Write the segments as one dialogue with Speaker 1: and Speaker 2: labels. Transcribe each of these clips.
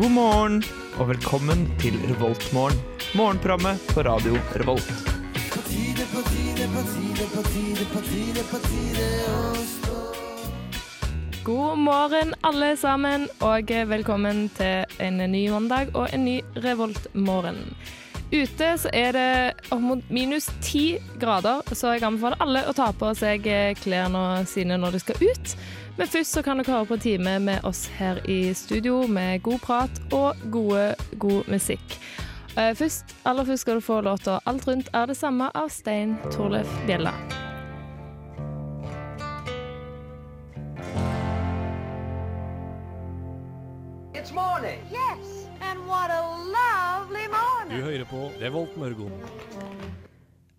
Speaker 1: God morgen og velkommen til Revoltmorgen. Morgenprogrammet på radio Revolt.
Speaker 2: God morgen, alle sammen, og velkommen til en ny mandag og en ny Revolt-morgen. Ute så er det opp mot minus ti grader, så jeg anbefaler alle å ta på seg eh, klærne sine når de skal ut. Men først så kan dere høre på en time med oss her i studio med god prat og gode, god musikk. Eh, Først, aller først skal du få låta 'Alt rundt er det samme' av Stein Torleif Bjella.
Speaker 3: It's morning. Yes, and what a lovely morning.
Speaker 4: Du hører på Revolt Mørgon.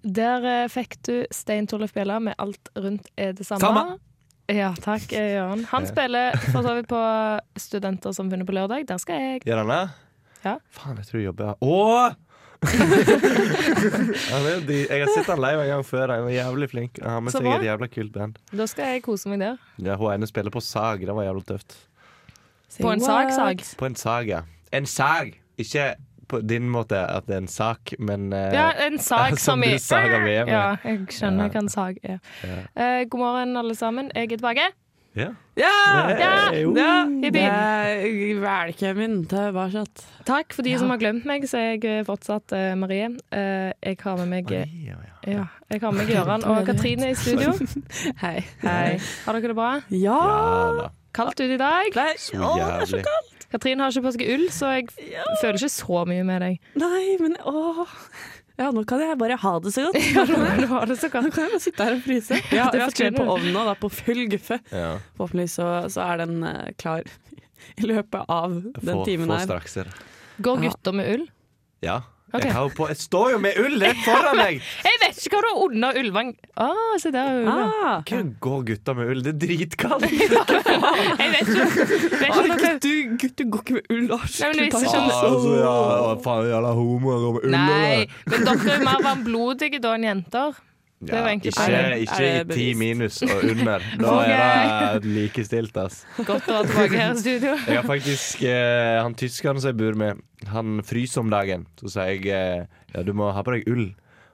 Speaker 2: Der eh, fikk du Stein Torleif Bjella med 'Alt rundt er det samme'.
Speaker 4: Samme.
Speaker 2: Ja, takk, eh, Jørgen. Han spiller for så vidt på Studenter som funnet på lørdag. Der skal jeg.
Speaker 5: Gjør han det?
Speaker 2: Ja.
Speaker 5: Faen, jeg tror du jobber her. Åh! ja, det er jo de, jeg har sett han live en gang før. Han var jævlig flink. Han har med
Speaker 2: Så
Speaker 5: seg
Speaker 2: bra.
Speaker 5: et jævla kult band.
Speaker 2: Da skal jeg kose meg der.
Speaker 5: Ja, Hun ene spiller på sag. Det var jævlig tøft.
Speaker 2: På en sag-sag.
Speaker 5: På en sag, ja. En sag! Ikke på din måte at det er en sak, men eh,
Speaker 2: Ja, en sag som
Speaker 5: Som
Speaker 2: i
Speaker 5: du saga ved med.
Speaker 2: Ja, jeg skjønner
Speaker 5: Ja.
Speaker 2: hva en sag er. Eh, god morgen, alle sammen. Jeg er tilbake.
Speaker 5: ja.
Speaker 2: Ja!
Speaker 5: Eh, jo.
Speaker 2: ja yippie.
Speaker 6: Eh, Velkommen tilbake.
Speaker 2: Takk for de som har glemt meg, så er jeg eh, fortsatt eh, Marie. Eh, jeg har med meg eh,
Speaker 5: Ja, ja.
Speaker 2: ja, jeg har med meg Gøran og Katrine i studio.
Speaker 6: Hei.
Speaker 2: Hei. Har dere det bra?
Speaker 6: Ja!
Speaker 5: Ja da.
Speaker 2: Kaldt ute i dag.
Speaker 6: Nei,
Speaker 5: Så
Speaker 6: å, det er så
Speaker 5: jævlig.
Speaker 2: Katrin har ikke på seg ull, så jeg f- føler ikke så mye med deg.
Speaker 6: Nei, men åh. Ja, nå kan jeg bare ha det så godt.
Speaker 2: Ja, nå kan du ha det så
Speaker 6: Nå
Speaker 2: kaldt.
Speaker 6: kan jeg bare sitte her og fryse. Ja,
Speaker 2: Det
Speaker 6: jeg har skrevet
Speaker 2: fortjener
Speaker 6: på
Speaker 2: du.
Speaker 6: ovnen og da på full guffe.
Speaker 5: Ja.
Speaker 6: Forhåpentlig så, så er den eh, klar i løpet av den
Speaker 5: Få,
Speaker 6: timen
Speaker 5: få
Speaker 6: her.
Speaker 5: straks her.
Speaker 2: Går gutter med ull?
Speaker 5: Ja.
Speaker 2: Ok.
Speaker 5: Jeg, har jo på, jeg står jo med ull rett foran meg!
Speaker 2: Jeg vet ikke hva du har under ullvang. Å, se der er ulven.
Speaker 6: Ah,
Speaker 5: Hva går gutta med ull? Det er dritkaldt!
Speaker 2: Jeg vet ikke. Vet ikke om det-
Speaker 6: gutt, du, gutt, du går ikke med ull, Lars.
Speaker 2: Nei, men
Speaker 6: Du
Speaker 2: hvis
Speaker 6: tar
Speaker 2: jeg
Speaker 6: ikke
Speaker 2: skjønner-
Speaker 6: det.
Speaker 5: altså, ja, faen, jævla homoer går med ull
Speaker 2: Nei, men dere er mer varmblodige da enn jenter. det var egentlig
Speaker 5: ikke,
Speaker 2: feil.
Speaker 5: ikke
Speaker 6: Er
Speaker 5: i
Speaker 6: det
Speaker 5: ti
Speaker 6: bevist?
Speaker 5: minus og under. Da er det likestilt, ass.
Speaker 2: Godt å være tilbake her i studio.
Speaker 5: Jeg har faktisk eh, Han tyskeren som jeg bor med, han fryser om dagen. Så sier jeg eh, ja, du må ha på deg ull.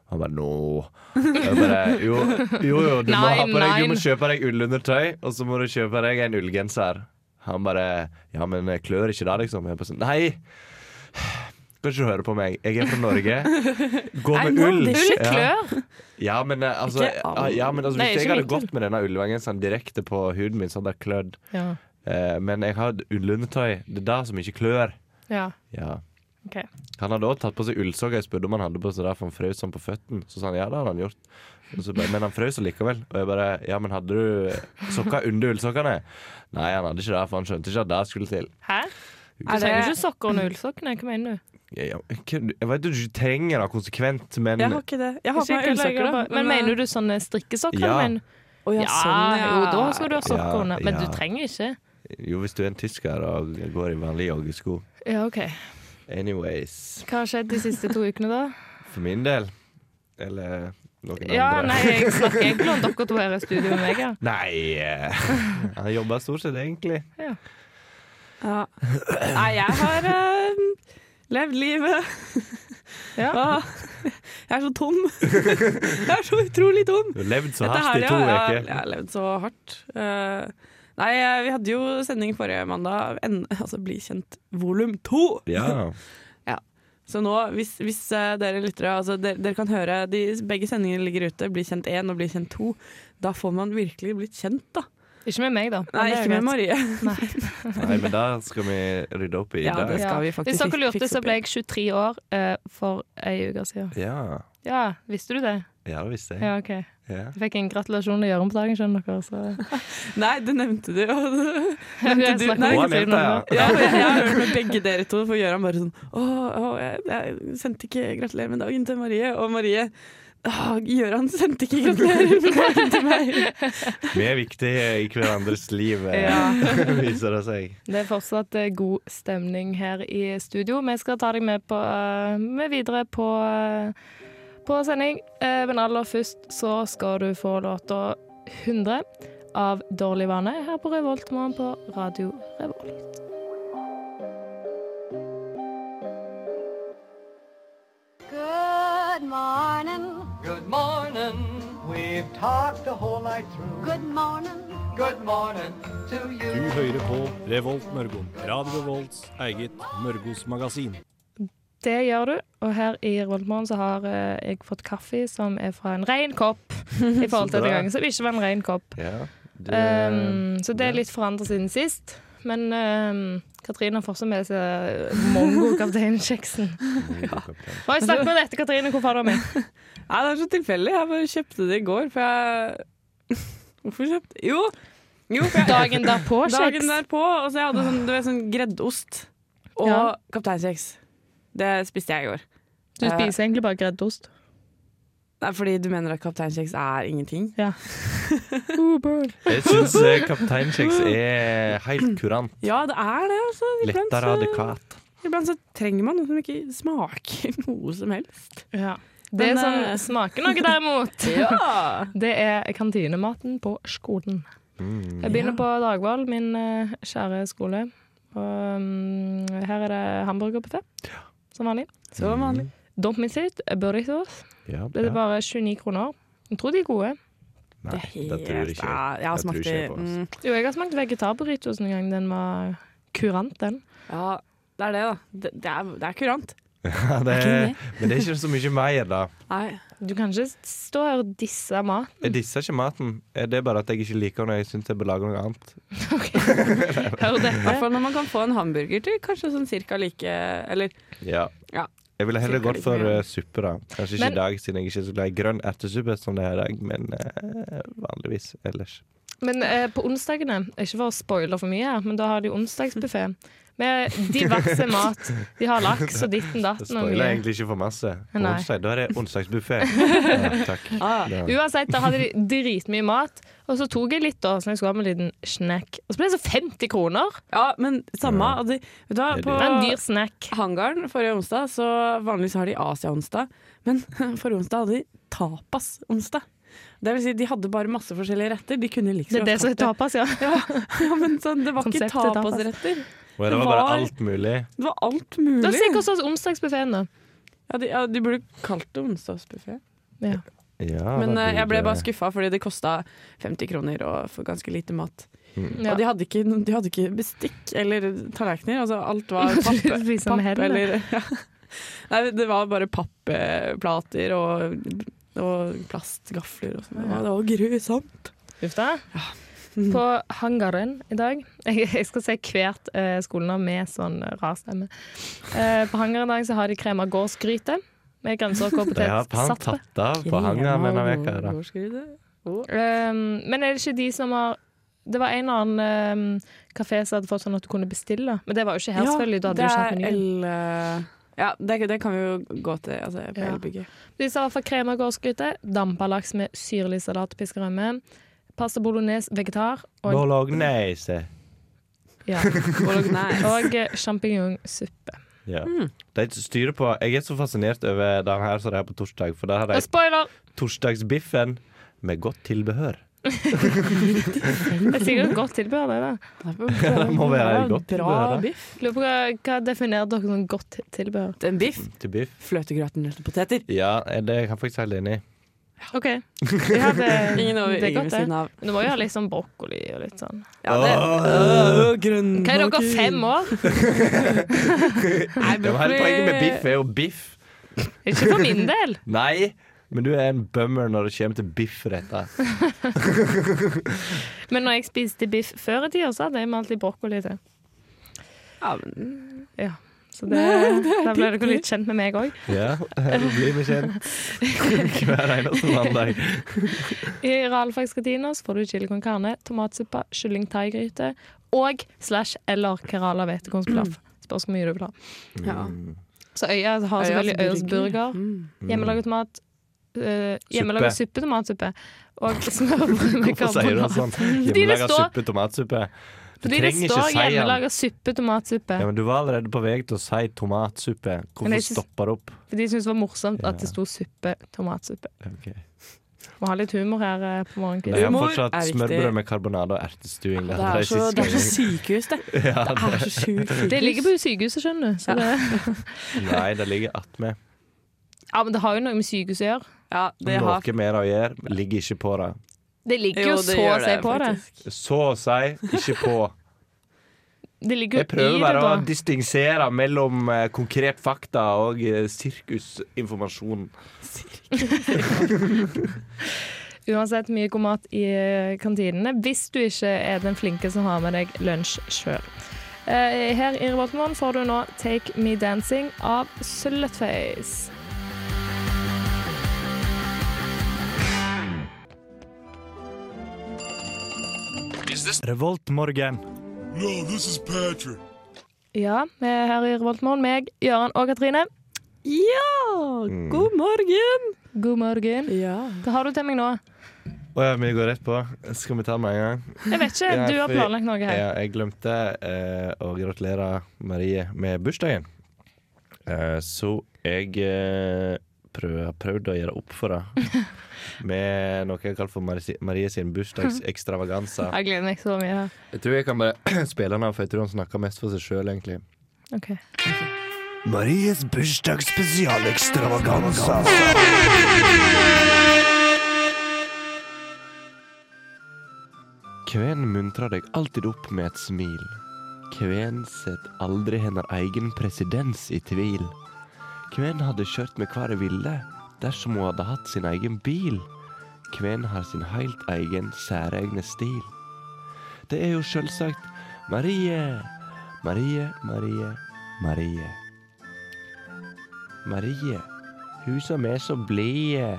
Speaker 5: Han bare nå Jeg bare, jo, jo, jo du, må
Speaker 2: Nei,
Speaker 5: ha på deg,
Speaker 2: nei.
Speaker 5: du må kjøpe deg ullundertøy, og så må du kjøpe deg en ullgenser. Han bare Ja, men jeg klør ikke da, liksom? Jeg bare sånn Nei! Kan ikke du høre på meg? Jeg er fra Norge. Gå
Speaker 6: I
Speaker 5: med
Speaker 6: know
Speaker 5: ull.
Speaker 6: this
Speaker 2: Ull
Speaker 5: Ja.
Speaker 2: klør.
Speaker 5: Ja, men eh, altså,
Speaker 6: Ikke all-
Speaker 5: ah, ja, men, altså
Speaker 2: Nei,
Speaker 5: Hvis
Speaker 2: ikke
Speaker 5: jeg hadde
Speaker 2: mye
Speaker 5: gått med denne ullgenseren direkte på huden min, så hadde jeg klødd.
Speaker 2: Ja.
Speaker 5: Eh, men jeg har et ullundertøy. Det er det som ikke klør.
Speaker 2: ja.
Speaker 5: Ja.
Speaker 2: Ok.
Speaker 5: Han hadde også tatt på seg ullsokker. Jeg spurte om han hadde på seg det, for han frøs sånn på føttene. Så sa han ja, det hadde han gjort. Og så bare, men han frøs likevel. Og jeg bare ja, men hadde du sokker under ullsokkene? Nei, han hadde ikke det, for han skjønte ikke at det skulle til.
Speaker 2: Hæ? Du
Speaker 6: Er
Speaker 2: trenger
Speaker 6: det-
Speaker 2: ikke sokker under ullsokkene. Hva mener du?
Speaker 5: Jeg, jeg vet du ikke trenger det konsekvent, men
Speaker 6: Jeg har ikke det. Jeg har på meg ullsokker, da.
Speaker 2: Men mener du sånne strikkesokker?
Speaker 5: Ja.
Speaker 2: mener du?
Speaker 6: Å ja,
Speaker 2: Ja,
Speaker 6: sånn, ja.
Speaker 2: jo, da skal du ha sokker
Speaker 5: Ja,
Speaker 2: under. Men
Speaker 5: ja.
Speaker 2: du trenger ikke.
Speaker 5: jo, hvis du er en tysker og går i vanlige joggesko
Speaker 2: Ja, OK.
Speaker 5: Anyways.
Speaker 2: Hva har skjedd de siste to ukene, da?
Speaker 5: For min del. Eller noen
Speaker 2: Ja,
Speaker 5: andre.
Speaker 2: nei, jeg snakker egentlig om dere to her i studio med meg, ja.
Speaker 5: Nei eh, Han jobber stort sett, egentlig.
Speaker 6: Ja. Nei, jeg har eh, levd livet.
Speaker 2: Ja.
Speaker 6: Ah, jeg er så tom. jeg er så utrolig tom.
Speaker 5: Du har levd så
Speaker 6: Dette her,
Speaker 5: hardt i to
Speaker 6: ja, ja,
Speaker 5: uker.
Speaker 6: Jeg har levd så hardt. Eh, nei, eh, vi hadde jo sending forrige mandag, en, altså Bli kjent volum to.
Speaker 5: Ja.
Speaker 6: Så nå, hvis, hvis eh, dere lyttere altså, dere, dere kan høre de, Begge sendingene ligger ute, Bli kjent én og Bli kjent to. Da får man virkelig blitt kjent, da.
Speaker 2: Ikke med meg, da.
Speaker 6: Nei, ikke med Marie.
Speaker 5: Nei, men det skal vi rydde opp i i
Speaker 6: Ja,
Speaker 5: dag.
Speaker 6: det skal vi faktisk
Speaker 2: Hvis dere lurte,
Speaker 6: fikse
Speaker 2: så
Speaker 6: opp
Speaker 2: ble
Speaker 6: i.
Speaker 2: jeg 23 år eh, for ei uke siden.
Speaker 5: Ja.
Speaker 2: Ja, visste du det?
Speaker 5: ja, det visste jeg.
Speaker 2: Ja, OK. Jeg
Speaker 5: Ja.
Speaker 2: fikk en gratulasjon til Jørgen på dagen, skjønner dere. Så.
Speaker 6: Nei, det nevnte du. og det-
Speaker 2: Jeg
Speaker 6: du-
Speaker 2: snakker
Speaker 6: nei,
Speaker 2: hele
Speaker 5: hun er
Speaker 2: tiden
Speaker 5: jenta,
Speaker 2: om det.
Speaker 6: Ja, for jeg, jeg har hørt med begge dere to, for Gøran bare sånn Å, å, jeg, jeg sendte ikke 'gratulerer med dagen' til Marie, og Marie Å, Gøran sendte ikke 'gratulerer med dagen' til meg.
Speaker 5: Vi er viktige i hverandres liv, eh,
Speaker 2: Ja.
Speaker 5: viser det seg.
Speaker 2: Det er fortsatt eh, god stemning her i studio. Vi skal ta deg med, på, eh, med videre på, eh, på sending. Eh, Men aller først så skal du få låta 100 av Dårlig vane her på Revoltmorgen på Radio Revolt.
Speaker 7: We've talked the whole night through.
Speaker 3: Good morning.
Speaker 7: Good morning to
Speaker 4: Du
Speaker 7: you.
Speaker 4: hører på Revolt Mørgon. Radio Revolts eget Mørgos magasin.
Speaker 2: Det gjør du. Og her i Rollmorgen så har eh, jeg fått kaffe som er fra en ren kopp. I forhold til
Speaker 5: bra.
Speaker 2: den gangen som ikke var en ren kopp.
Speaker 5: Ja, det,
Speaker 2: Um, så det er
Speaker 5: det-
Speaker 2: litt forandret siden sist. Men um, Katrine har fortsatt med seg mongokapteinkjeksen.
Speaker 5: eh,
Speaker 2: Må jeg snakke med dette, Katrine? Hvor får du av meg?
Speaker 6: Nei, det er så tilfeldig. Jeg bare kjøpte det i går, for jeg Hvorfor kjøpte Jo! jo for jeg...
Speaker 2: Dagen
Speaker 6: Dagen
Speaker 2: derpå-kjeks.
Speaker 6: derpå. Og så jeg hadde sånn, du vet, sånn greddost og
Speaker 2: Ja.
Speaker 6: kapteinskjeks. Det spiste jeg i går.
Speaker 2: Du spiser egentlig bare greddost.
Speaker 6: Nei, fordi du mener at kapteinskjeks er ingenting?
Speaker 5: Jeg syns eh, kapteinkjeks er helt kurant.
Speaker 6: Ja, det er det, altså. Iblant
Speaker 5: Lettere
Speaker 6: så,
Speaker 5: adekvat.
Speaker 6: iblant så trenger man noe som ikke smaker noe som helst.
Speaker 2: Ja. Det
Speaker 6: Men,
Speaker 2: som
Speaker 6: eh,
Speaker 2: smaker noe, derimot,
Speaker 6: Ja!
Speaker 2: det er kantinematen på skolen. Jeg begynner på Dagvoll, min eh, kjære skole. Og mm, her er det hamburgerbuffé, som vanlig.
Speaker 6: Som
Speaker 5: Mm.
Speaker 6: vanlig.
Speaker 2: Dumpmissitt, eh, burritos.
Speaker 5: Ja,
Speaker 2: Det er
Speaker 5: ja.
Speaker 2: bare 29 kroner. Jeg tror de er gode.
Speaker 5: Nei, det tror jeg ikke.
Speaker 6: Ja, jeg har
Speaker 5: Det tror
Speaker 6: smakt
Speaker 5: ikke
Speaker 6: det.
Speaker 5: jeg på, altså.
Speaker 6: Mm.
Speaker 2: Jo, jeg har smakt vegetarburritos en gang. Den var kurant, den.
Speaker 6: Ja, det er det, da. Det, det, er, det er kurant.
Speaker 5: Ja, det
Speaker 6: ikke
Speaker 5: men det er ikke så mye mer, da.
Speaker 6: Nei.
Speaker 2: Du kan ikke stå her og disse mat.
Speaker 5: Jeg disser ikke maten. Eh, Det er bare at jeg ikke liker når jeg syns jeg bør lage noe annet.
Speaker 2: Hør
Speaker 6: I hvert
Speaker 2: dette.
Speaker 6: fall når man kan få en hamburger til kanskje sånn cirka like Eller
Speaker 5: Ja.
Speaker 6: Ja.
Speaker 5: Jeg ville heller
Speaker 6: Cirka
Speaker 5: gått
Speaker 6: litt
Speaker 5: for
Speaker 6: mer.
Speaker 5: eh, suppe, da. Kanskje ikke
Speaker 2: Men-
Speaker 5: i dag, siden jeg ikke er så glad i grønn ertesuppe som det er i dag, men eh, vanligvis ellers.
Speaker 2: Men eh, på onsdagene, ikke for å spoile for mye, her, men da har de onsdagsbuffé. Med diverse mat. De har laks og ditten
Speaker 5: Det
Speaker 2: datten og
Speaker 5: spoiler
Speaker 2: mye.
Speaker 5: egentlig ikke for masse. På
Speaker 2: Nei.
Speaker 5: Onsdag, da er det onsdagsbuffé. Ja, takk.
Speaker 6: Ah.
Speaker 5: Ja.
Speaker 2: Uansett, da hadde de dritmye mat, og så tok jeg litt, da, så jeg skulle ha med en liten snack. Og så ble det så 50 kroner
Speaker 6: Ja, men samme. og de- Vet du hva,
Speaker 5: Det er
Speaker 6: på
Speaker 2: for en dyr snack.
Speaker 6: hangaren forrige onsdag, så vanligvis har de Asia-onsdag, men forrige onsdag hadde de tapas-onsdag. Det vil si, de hadde bare masse forskjellige retter. De kunne liksom
Speaker 2: Det er det som er tapas, ja.
Speaker 6: Ja, men sånn, det var ikke
Speaker 2: Konseptet tapas.
Speaker 6: tapasretter.
Speaker 5: Og det var
Speaker 6: Det
Speaker 5: bare
Speaker 6: var-
Speaker 5: alt mulig.
Speaker 6: Det var alt
Speaker 2: Da
Speaker 6: mulig.
Speaker 2: stikker vi oss onsdagsbuffeen, da.
Speaker 6: Ja, de, ja, de burde kalt det onsdagsbuffé.
Speaker 2: Ja.
Speaker 5: Ja,
Speaker 6: Men
Speaker 5: da
Speaker 6: eh,
Speaker 5: blir
Speaker 6: jeg ble
Speaker 5: det-
Speaker 6: bare skuffa, fordi det kosta 50 kroner og for ganske lite mat.
Speaker 2: Ja.
Speaker 6: Og de hadde, ikke, de hadde ikke bestikk eller tallerkener. Altså alt var papp,
Speaker 2: Du spiser med
Speaker 6: papp
Speaker 2: hendene.
Speaker 6: eller ja. Nei, det var bare pappplater og, og plastgafler og sånn. Det var- Det var grusomt.
Speaker 2: Uff da. På hangaren i dag Jeg, jeg skal se hvert eh, skolenavn med sånn eh, rar stemme. Eh, på hangaren i dag så har de krema gårdsgryte med grønnsaker og
Speaker 5: Det har han
Speaker 2: potetsappe.
Speaker 5: tatt av på hangaren denne veka da.
Speaker 2: Um, men er det ikke de som har Det var en eller annen um, kafé som hadde fått sånn at du kunne bestille. Men det var jo ikke her, selvfølgelig. Du hadde jo
Speaker 6: det
Speaker 2: ikke
Speaker 6: er
Speaker 2: hatt menyen.
Speaker 6: el... eh, Ja, det, det kan vi jo gå til altså, på
Speaker 2: Ja.
Speaker 6: elbygget.
Speaker 2: De sa i hvert fall krem og gårdsgryte, dampa laks med syrlig salat og piska rømme, pasta bolognese, vegetar og,
Speaker 5: Bolognese.
Speaker 2: ja,
Speaker 6: Bolognese.
Speaker 2: og eh, sjampinjongsuppe.
Speaker 5: Ja.
Speaker 6: Mm.
Speaker 5: De styrer på Jeg er så fascinert over den her som det er på torsdag, for der har de
Speaker 2: Og
Speaker 6: Altså-
Speaker 2: spoiler!
Speaker 5: torsdagsbiffen med godt tilbehør.
Speaker 2: Det er sikkert et godt tilbehør, det. da
Speaker 5: Det må være godt
Speaker 6: Bra
Speaker 5: tilbehør, da.
Speaker 6: biff.
Speaker 2: Lurer på hva, hva definerer dere som godt tilbehør?
Speaker 6: En biff,
Speaker 5: Til biff.
Speaker 6: fløtegrøt, nøtter og poteter.
Speaker 5: Ja, er det er jeg faktisk helt enig i.
Speaker 2: OK. Ja, det,
Speaker 6: Ingen over,
Speaker 2: det er
Speaker 6: ingen ved
Speaker 2: godt, det.
Speaker 6: siden av.
Speaker 2: Men du må jo ha litt sånn brokkoli og litt sånn.
Speaker 6: Ja, det, Øh, grønnkaker.
Speaker 2: Hva er dere, fem år?
Speaker 5: Ja,
Speaker 6: Nei,
Speaker 5: men hele poenget med biff er jo biff.
Speaker 2: Ikke for min del.
Speaker 5: Nei, men du er en bummer når det kommer til biffretter.
Speaker 2: Men når jeg spiste biff før i tida, så hadde jeg med alltid brokkoli til.
Speaker 6: Ja, men,
Speaker 2: Ja. Så det, da ble dere litt kjent med meg òg.
Speaker 5: Ja, her blir vi kjent hver eneste mandag.
Speaker 2: I realfagskantina så får du chili con carne, tomatsuppe, kylling thaigryte og slash eller Kerala hvetekornspilaff. Spørs hvor mye du vil ha.
Speaker 6: ja.
Speaker 5: Mm.
Speaker 2: Så Øya har selvfølgelig Øyas burger,
Speaker 6: Mm.
Speaker 2: hjemmelaget mat, øh, hjemmelaget suppe, tomatsuppe og smørbrød med
Speaker 5: Hvorfor sier du det
Speaker 2: karbonat.
Speaker 5: sånn?
Speaker 2: det
Speaker 5: Hjemmelaga
Speaker 2: står-
Speaker 5: suppe, tomatsuppe. Du
Speaker 2: Fordi det
Speaker 5: trenger ikke
Speaker 2: står
Speaker 5: si den.
Speaker 2: hjemmelaga suppe, tomatsuppe.
Speaker 5: Ja, men du var allerede på vei til å si tomatsuppe.
Speaker 2: Men
Speaker 5: Hvorfor
Speaker 2: jeg synes-
Speaker 5: stopper du opp?
Speaker 2: For de syntes det var morsomt at
Speaker 5: Ja.
Speaker 2: det sto suppe, tomatsuppe.
Speaker 5: Okay.
Speaker 2: Må ha litt humor her eh, på
Speaker 5: De har
Speaker 2: morgenkvisten.
Speaker 6: Humor
Speaker 5: fortsatt
Speaker 6: er viktig.
Speaker 5: smørbrød med karbonade og ertestuing.
Speaker 6: Det er så, det er så sykehus, det. Det er så sjukt sykehus.
Speaker 2: Det ligger på sykehuset, skjønner du. Så
Speaker 6: Ja.
Speaker 2: det,
Speaker 5: Nei, det ligger attmed.
Speaker 2: Ja, men det har jo noe med sykehus å gjøre.
Speaker 6: Ja, det har
Speaker 5: Noe mer å gjøre, men ligger ikke på det.
Speaker 2: Det ligger jo, så å si på det.
Speaker 6: faktisk.
Speaker 5: Så å si ikke på.
Speaker 2: Det ligger
Speaker 5: Jeg
Speaker 2: jo i
Speaker 5: prøver
Speaker 2: det,
Speaker 5: bare å
Speaker 2: da.
Speaker 5: distingsere mellom eh, konkret fakta og eh, sirkusinformasjon.
Speaker 2: Uansett mye god mat i eh, kantinene, hvis du ikke er den flinke som har med deg lunsj sjøl. Her i Revoltmorgen får du nå 'Take Me Dancing' av Slutface.
Speaker 1: Revoltmorgen.
Speaker 2: Ja, vi er her i Revoltmorgen, meg, Gøran og Katrine.
Speaker 6: Ja!
Speaker 5: Mm.
Speaker 6: God morgen!
Speaker 2: God morgen.
Speaker 6: Ja.
Speaker 2: Hva har du til meg nå?
Speaker 5: Å ja, vi går rett på. Skal vi ta det med en gang?
Speaker 2: Jeg vet ikke,
Speaker 5: Ja,
Speaker 2: du har
Speaker 5: fordi-
Speaker 2: planlagt noe her.
Speaker 5: Ja, jeg glemte eh, å gratulere Marie med bursdagen. Eh, så jeg eh, prøv- har prøvd å gjøre opp for det med noe jeg kaller for Marie, Marie sin bursdagsekstravaganse.
Speaker 2: Jeg gleder meg så mye her.
Speaker 5: Jeg tror jeg kan bare spille den av, for jeg tror han snakker mest for seg sjøl, egentlig.
Speaker 2: Ok.
Speaker 8: Maries bursdagsspesialekstravaganza.
Speaker 5: Kven muntrar deg alltid opp med et smil. Kven set aldri hennar egen presedens i tvil. Kven hadde kjørt med hva hun ville dersom hun hadde hatt sin egen bil. Kven har sin heilt egen særegne stil. Det er jo sjølvsagt Marie, Marie, Marie, Marie. Marie, hun som er så blide.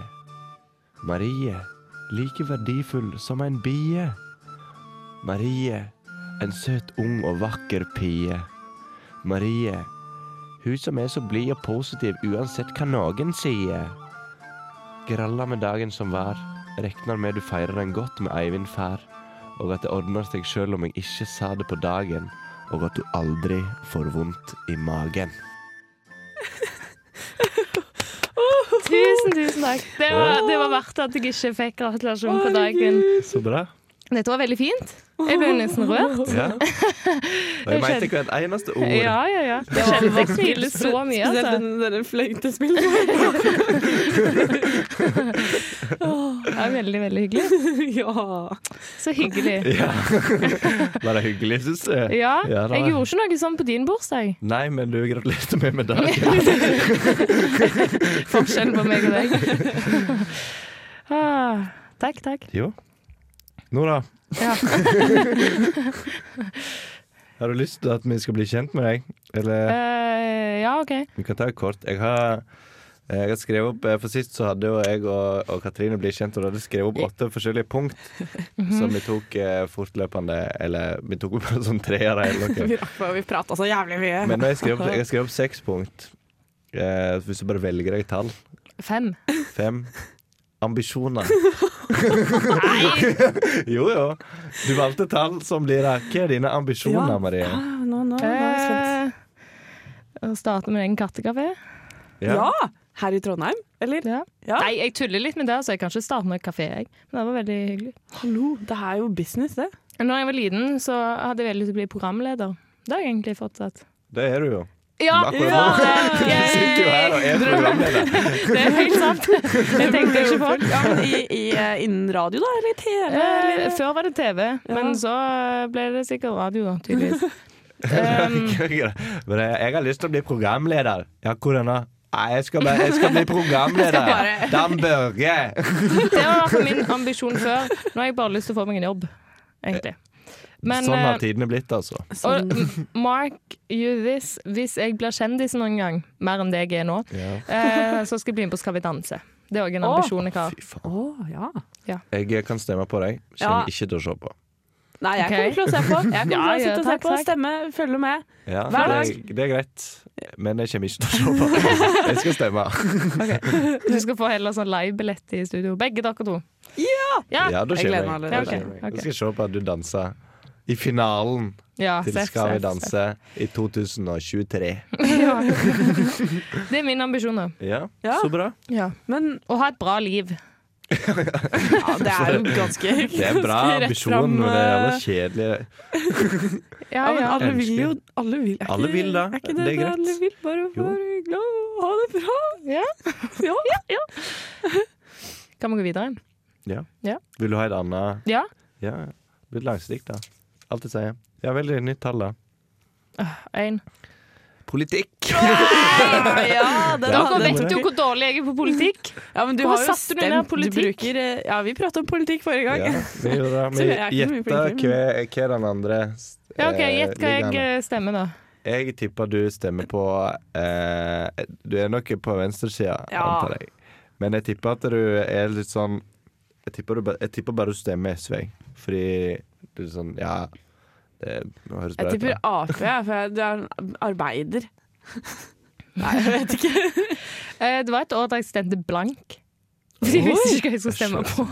Speaker 5: Marie, like verdifull som en bie. Marie, en søt, ung og vakker pie. Marie, hun som er så blid og positiv uansett hva noen sier. Gralla med dagen som var, regner med du feirer den godt med Eivind far, og at det ordner seg sjøl om jeg ikke sa det på dagen, og at du aldri får vondt i magen.
Speaker 2: Tusen, tusen takk. Det var, det var verdt at jeg ikke fikk gratulasjon på dagen.
Speaker 5: Så bra.
Speaker 2: Dette var veldig fint. Jeg ble nesten rørt.
Speaker 5: Ja. Og jeg mente hvert eneste ord.
Speaker 2: Ja, ja, ja. Jeg kjente jeg smilte så mye,
Speaker 6: Spesielt
Speaker 2: altså.
Speaker 6: den der fløytespillet.
Speaker 2: Det var veldig, veldig hyggelig.
Speaker 6: ja.
Speaker 2: Så hyggelig.
Speaker 5: Ja. Var det hyggelig, syns du?
Speaker 2: Ja,
Speaker 5: Ja, det var-
Speaker 2: jeg gjorde ikke noe sånn på din bursdag.
Speaker 5: Nei, men du gratulerte meg med dagen.
Speaker 2: Forskjellen på meg og deg. Ah, takk, takk.
Speaker 5: Jo. Nå da.
Speaker 2: Ja.
Speaker 5: Har du lyst til at vi skal bli kjent med deg? Eller
Speaker 2: Eh, ja, OK.
Speaker 5: vi kan ta et kort. Jeg har, jeg har skrevet opp eh, For sist så hadde jo jeg og, og Katrine blitt kjent, og du hadde skrevet opp åtte forskjellige punkt som vi tok eh, fortløpende Eller vi tok bare sånn treere eller noe.
Speaker 6: Vi rakk bare, vi prata så jævlig mye.
Speaker 5: Men nå har jeg skrevet opp, jeg har skrevet opp seks punkt. Eh, hvis du bare velger deg et tall.
Speaker 2: Fem.
Speaker 5: Fem. Ambisjoner.
Speaker 2: Nei!
Speaker 5: Jo, jo. Du valgte tall som blir her. Hva er dine ambisjoner,
Speaker 6: Ja.
Speaker 5: Marie?
Speaker 6: Ja, nå, nå, nå er jeg
Speaker 2: Eh,
Speaker 6: spent.
Speaker 2: å starte med egen kattekafé.
Speaker 6: Ja! Her i Trondheim, eller?
Speaker 2: Ja.
Speaker 6: Ja.
Speaker 2: Nei, jeg tuller litt med det, så jeg kan ikke starte med kafé. Jeg. Men det var veldig hyggelig.
Speaker 6: Hallo, det er jo business, det.
Speaker 2: Når jeg var liten, så hadde jeg veldig lyst til å bli programleder. Det har jeg egentlig fortsatt.
Speaker 5: Det er du jo.
Speaker 2: Ja!
Speaker 5: Akkurat
Speaker 2: ja!
Speaker 5: nå. Du sitter jo her og er programleder.
Speaker 2: Det er helt sant. Det tenkte jeg ikke på.
Speaker 6: Ja, men i, i, eh, innen radio, da? Eller i TV?
Speaker 2: Eh,
Speaker 6: eller?
Speaker 2: før var det TV, men så eh, ble det sikkert radio, da, tydeligvis. Um,
Speaker 5: Men eh, jeg har lyst til å bli programleder. Ja, hvordan da? Nei, jeg skal, bare, jeg skal bli programleder. Dan Børge.
Speaker 2: det var i hvert fall min ambisjon før. Nå har jeg bare lyst til å få meg en jobb, egentlig. Men
Speaker 5: sånn
Speaker 2: eh,
Speaker 5: har tidene blitt, altså.
Speaker 2: og, m- mark you this, hvis jeg blir kjendis noen gang, mer enn det jeg er nå,
Speaker 5: Ja.
Speaker 2: eh, så skal jeg bli med på Skal vi danse. Det er òg en
Speaker 6: Å,
Speaker 2: ambisjon jeg har.
Speaker 5: Fy faen.
Speaker 6: Å, ja.
Speaker 5: Jeg kan stemme på deg.
Speaker 6: Ja.
Speaker 5: Kommer ikke til å se på.
Speaker 6: Nei, jeg
Speaker 2: Ok.
Speaker 6: kommer til å se på. Jeg kommer
Speaker 2: Ja,
Speaker 6: til å
Speaker 2: ja,
Speaker 6: sitte og se
Speaker 2: takk,
Speaker 6: på,
Speaker 2: takk.
Speaker 6: stemme, følge med.
Speaker 5: Ja,
Speaker 6: Hver
Speaker 5: det, er- det er greit, men jeg kommer ikke til å se på. Jeg skal stemme.
Speaker 2: Du skal få heller sånn livebillett i studio. Begge dere to. Ja!
Speaker 5: Ja, da
Speaker 6: Jeg
Speaker 5: kommer
Speaker 6: gleder
Speaker 5: jeg.
Speaker 6: meg
Speaker 5: Da
Speaker 6: allerede.
Speaker 5: kommer jeg.
Speaker 2: Ok, ok.
Speaker 5: Jeg skal se på at du danser i finalen
Speaker 2: Ja,
Speaker 6: Ah,
Speaker 5: til
Speaker 2: seff,
Speaker 5: Skal vi
Speaker 2: seff, seff.
Speaker 5: danse i 2023.
Speaker 2: Ja. Det er min ambisjon, da.
Speaker 5: Ja,
Speaker 6: Ja.
Speaker 5: så bra.
Speaker 6: Men
Speaker 2: Å ha et bra liv.
Speaker 6: ja, det er jo ganske
Speaker 5: Det er en bra
Speaker 6: ganske rett
Speaker 5: ambisjon,
Speaker 6: fram,
Speaker 5: men det er jævla
Speaker 6: eh,
Speaker 5: kjedelig.
Speaker 2: Ja,
Speaker 6: Ja, men
Speaker 2: ja.
Speaker 6: alle vil jo Alle vil, er ikke-
Speaker 5: Alle vil da.
Speaker 6: Er ikke det,
Speaker 5: Det er greit.
Speaker 6: Alle vil bare
Speaker 5: Jo.
Speaker 6: være glad og ha det bra.
Speaker 2: Ja. vi gå videre.
Speaker 5: Vil du ha et annet
Speaker 2: Ja.
Speaker 5: Ja, litt langsikt, da. Alt jeg sier. Ja, veldig nytt tall, da.
Speaker 2: Én.
Speaker 1: Politikk!
Speaker 6: Ja, den
Speaker 2: Dere
Speaker 6: hadde-
Speaker 2: vet jo hvor dårlig jeg er på politikk.
Speaker 6: Ja, men du
Speaker 2: Hvorfor
Speaker 6: har jo
Speaker 2: satte du ned
Speaker 6: stemt. Du
Speaker 2: politikk?
Speaker 6: bruker eh, Ja, vi pratet om politikk forrige
Speaker 5: Ja,
Speaker 6: gang.
Speaker 5: vi gjorde
Speaker 6: Så
Speaker 5: det.
Speaker 6: jeg er
Speaker 5: Vi
Speaker 6: ikke mye
Speaker 5: gjetta
Speaker 6: flinkere,
Speaker 5: hva, hva den andre
Speaker 2: Ja, OK,
Speaker 5: eh,
Speaker 2: gjett hva
Speaker 5: ligger
Speaker 2: jeg
Speaker 5: an.
Speaker 2: eh, stemmer, da.
Speaker 5: Jeg tipper du stemmer på eh, Du er nok på venstresida,
Speaker 6: Ja.
Speaker 5: antar jeg. Men jeg tipper at du er litt sånn Jeg tipper, du, ba- jeg tipper bare du stemmer SV. jeg. Fordi du er sånn Ja, det høres bra
Speaker 6: Jeg
Speaker 5: ut.
Speaker 6: tipper
Speaker 5: da.
Speaker 6: Ap, ja, for jeg- du er en arbeider. Nei, jeg vet ikke.
Speaker 2: Eh, Det var et år da jeg stemte blank. Fordi jeg visste ikke hva jeg skulle stemme på.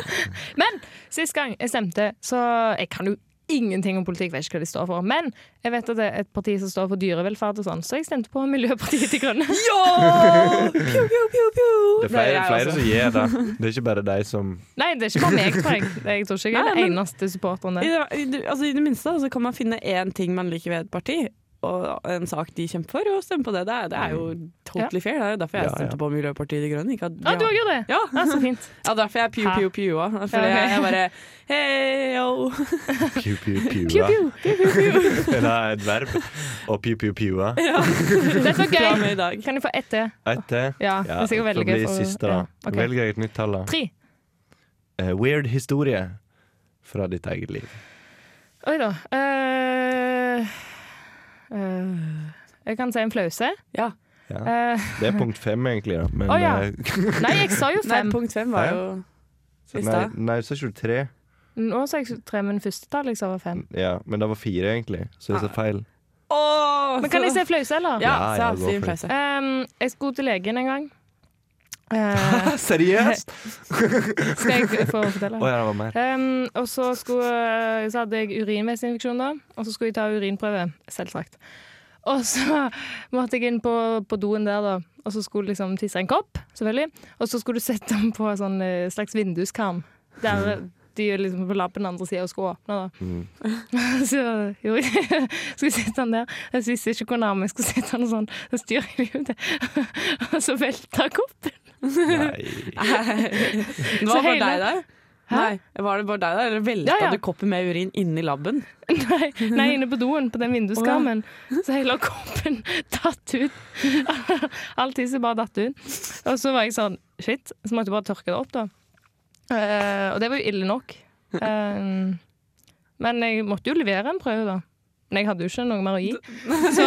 Speaker 2: Men sist gang jeg stemte, så Jeg kan jo ingenting om politikk, vet ikke hva de står for. Men jeg vet at det er et parti som står for dyrevelferd og sånn, så jeg stemte på Miljøpartiet De Grønne.
Speaker 6: Ja! Pju, pju, pju, pju.
Speaker 5: Det er
Speaker 6: Nei,
Speaker 5: flere,
Speaker 6: jeg
Speaker 5: flere
Speaker 6: også.
Speaker 5: som gjør det. Det er ikke bare de som
Speaker 2: Nei, det er ikke bare meg, tror jeg. Jeg tror ikke jeg er
Speaker 6: Nei,
Speaker 2: den
Speaker 6: men-
Speaker 2: eneste supporteren
Speaker 6: I
Speaker 2: der.
Speaker 6: det, i det- altså, I det minste da, så kan man finne én ting man liker ved et parti, og en sak de kjemper for, og stemme på det. Det er, det er jo totally fair. Det er jo derfor jeg
Speaker 5: Ja, ja.
Speaker 6: stemte på Miljøpartiet De Grønne. Ikke at,
Speaker 2: Å, Mm. du òg gjorde det?
Speaker 6: ja.
Speaker 2: Ja, så fint.
Speaker 6: ja, derfor jeg pju,
Speaker 2: Hæ?
Speaker 6: pju, pjua. Fordi
Speaker 2: Ja, ok.
Speaker 6: jeg, jeg bare hei, yo.
Speaker 5: Piu, piu, piua. Det er et verb. Og piu, piu, piua.
Speaker 2: Dette var
Speaker 6: Fra og
Speaker 2: gøy.
Speaker 6: med i dag.
Speaker 2: Kan jeg få ett til?
Speaker 5: Et eh, til.
Speaker 2: Ja, hvis jeg velger
Speaker 5: blir
Speaker 2: for-
Speaker 5: siste, da.
Speaker 2: ja, ok.
Speaker 5: Velger jeg et nytt tall, da.
Speaker 2: Tre.
Speaker 5: Eh, weird historie fra ditt eget liv.
Speaker 2: Oi da. Eh, eh, jeg kan si en flause.
Speaker 6: Ja.
Speaker 5: Ja.
Speaker 2: Eh,
Speaker 5: Det er punkt fem, egentlig. Da. Men
Speaker 2: Å, ja.
Speaker 5: eh,
Speaker 2: nei, jeg sa jo
Speaker 6: Nei,
Speaker 2: fem.
Speaker 6: punkt fem var
Speaker 5: Ja.
Speaker 6: jo i
Speaker 5: Nei,
Speaker 6: stad.
Speaker 5: nei, så er ikke du tre.
Speaker 2: Nå sa jeg tre, men første tall jeg sa var fem.
Speaker 5: Ja, men det var fire, egentlig. Så det er så feil.
Speaker 6: Åh,
Speaker 2: Men kan jeg
Speaker 6: så-
Speaker 2: se flause, eller?
Speaker 6: Ja,
Speaker 5: Ja,
Speaker 6: sa
Speaker 5: jeg går
Speaker 6: Siv
Speaker 5: for det.
Speaker 6: Flause.
Speaker 2: Ehm, jeg skulle til legen en gang. Eh,
Speaker 5: Seriøst?
Speaker 2: skal jeg få fortelle?
Speaker 5: Å ja, det var mer.
Speaker 2: Ehm, og så, skulle, eh, så hadde jeg urinveisinfeksjon da, og så skulle jeg ta urinprøve, selvsagt. Og så måtte jeg inn på, på doen der, da, og så skulle liksom tisse i en kopp, selvfølgelig. Og så skulle du sette den på en sånn eh, slags vinduskarm, der de er liksom på labben andre sida og skulle åpne, da. så gjorde jeg skulle sette den der. Jeg visste ikke hvor nærme jeg skulle sette den, og sånn. Så styrer jeg det ut, og så velta koppen.
Speaker 5: Nei.
Speaker 6: Det var
Speaker 2: Så
Speaker 6: bare
Speaker 2: hele-
Speaker 6: deg der? Nei, var det bare deg der? Eller velta
Speaker 2: Ja, ja.
Speaker 6: du koppen med urin inni labben?
Speaker 2: Nei, nei, inne på doen, på den vinduskarmen. Så hele koppen datt ut. All tisset bare datt ut. Og så var jeg sånn Shit. Så måtte jeg bare tørke det opp, da. Eh, og det var jo ille nok. Eh, men jeg måtte jo levere en prøve, da. Men jeg hadde jo ikke noe mer å gi. Så,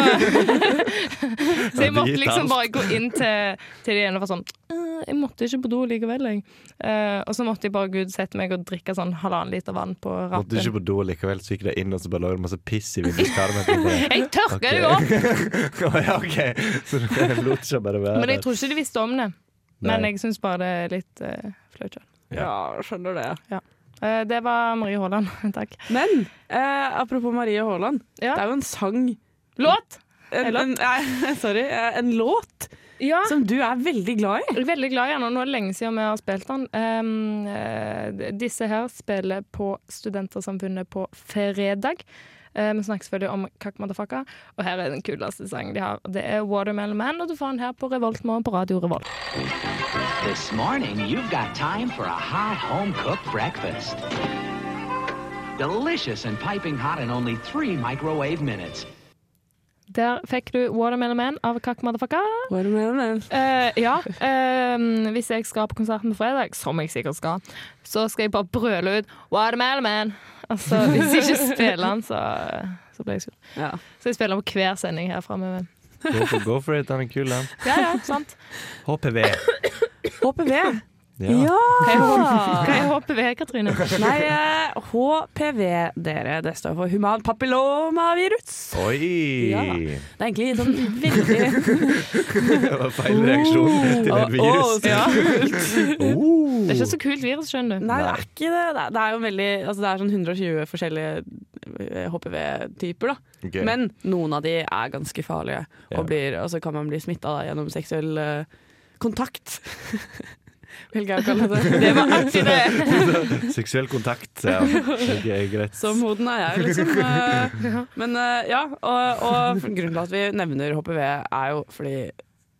Speaker 2: så jeg måtte liksom bare gå inn til, til de ene og være sånn «Eh, Jeg måtte ikke på do likevel, jeg. Eh, og så måtte jeg bare gud sette meg og drikke sånn halvannen liter vann på rappen.
Speaker 5: Måtte du ikke på do likevel, så gikk det inn og så bare lå det masse piss i vinduskarmen.
Speaker 2: Jeg tørka
Speaker 5: Ok.
Speaker 2: det jo opp!
Speaker 5: Å ja, OK. Så du lot ikke bare være
Speaker 2: Men jeg tror ikke de visste om det. Men
Speaker 5: Nei.
Speaker 2: jeg syns bare det er litt eh, flaut. selv.
Speaker 6: Ja, skjønner det.
Speaker 2: Eh, det var Marie Haaland. Takk.
Speaker 6: Men eh, apropos Marie Haaland.
Speaker 2: Ja.
Speaker 6: Det er jo en sang
Speaker 2: Låt!
Speaker 6: en, en, nei, Sorry, eh, en låt
Speaker 2: Ja.
Speaker 6: som du er veldig glad i.
Speaker 2: Jeg er veldig glad i den, og nå er det lenge siden vi har spilt den. Ehm, eh, d- disse her spiller på Studentersamfunnet på fredag. Eh, Vi snakker selvfølgelig om Kakk Motherfucka, og her er den kuleste sangen de har. Det er Watermelon Man, og du får den her på Revolt Morgen på Radio Revolt.
Speaker 9: This morning, you've got time for a hot home cooked breakfast. Delicious and piping hot in only three microwave minutes.
Speaker 2: Der fikk du Watermelon Man av Kakk Motherfucka.
Speaker 6: Watermelon.
Speaker 2: Eh, ja. eh, hvis jeg skal på konserten på fredag, som jeg sikkert skal, så skal jeg bare brøle ut 'Watermelon Man'. Altså, hvis jeg ikke spiller den, så, eh, så blir jeg sur.
Speaker 6: Ja.
Speaker 2: Så jeg spiller den på hver sending her framover.
Speaker 5: Go for, go for it, han er kul, han.
Speaker 2: Ja, ja, sant.
Speaker 5: HPV.
Speaker 6: HPV.
Speaker 5: Ja.
Speaker 2: Hva er HPV, Katrine?
Speaker 6: Nei, eh, HPV, dere. Det står for human papillomavirus.
Speaker 5: Oi!
Speaker 6: Ja. Det er egentlig sånn veldig
Speaker 5: Det var feil reaksjon til et virus. Oh.
Speaker 6: Oh. Å, ja.
Speaker 2: Det er ikke så kult virus, skjønner du.
Speaker 6: Nei, det er ikke det. Det er, det er jo veldig Altså, det er sånn 120 forskjellige eh, HPV-typer, da.
Speaker 5: Ok.
Speaker 6: Men noen av de er ganske farlige,
Speaker 5: Ja.
Speaker 6: og, blir, og så kan man bli smitta gjennom seksuell eh, kontakt. Velger jeg å kalle det det. var artig, det!
Speaker 5: Seksuell kontakt. Ja. Ok, greit.
Speaker 6: Som hoden er jeg, liksom. eh, Men eh, ja, og, og grunnen til at vi nevner HPV, er jo fordi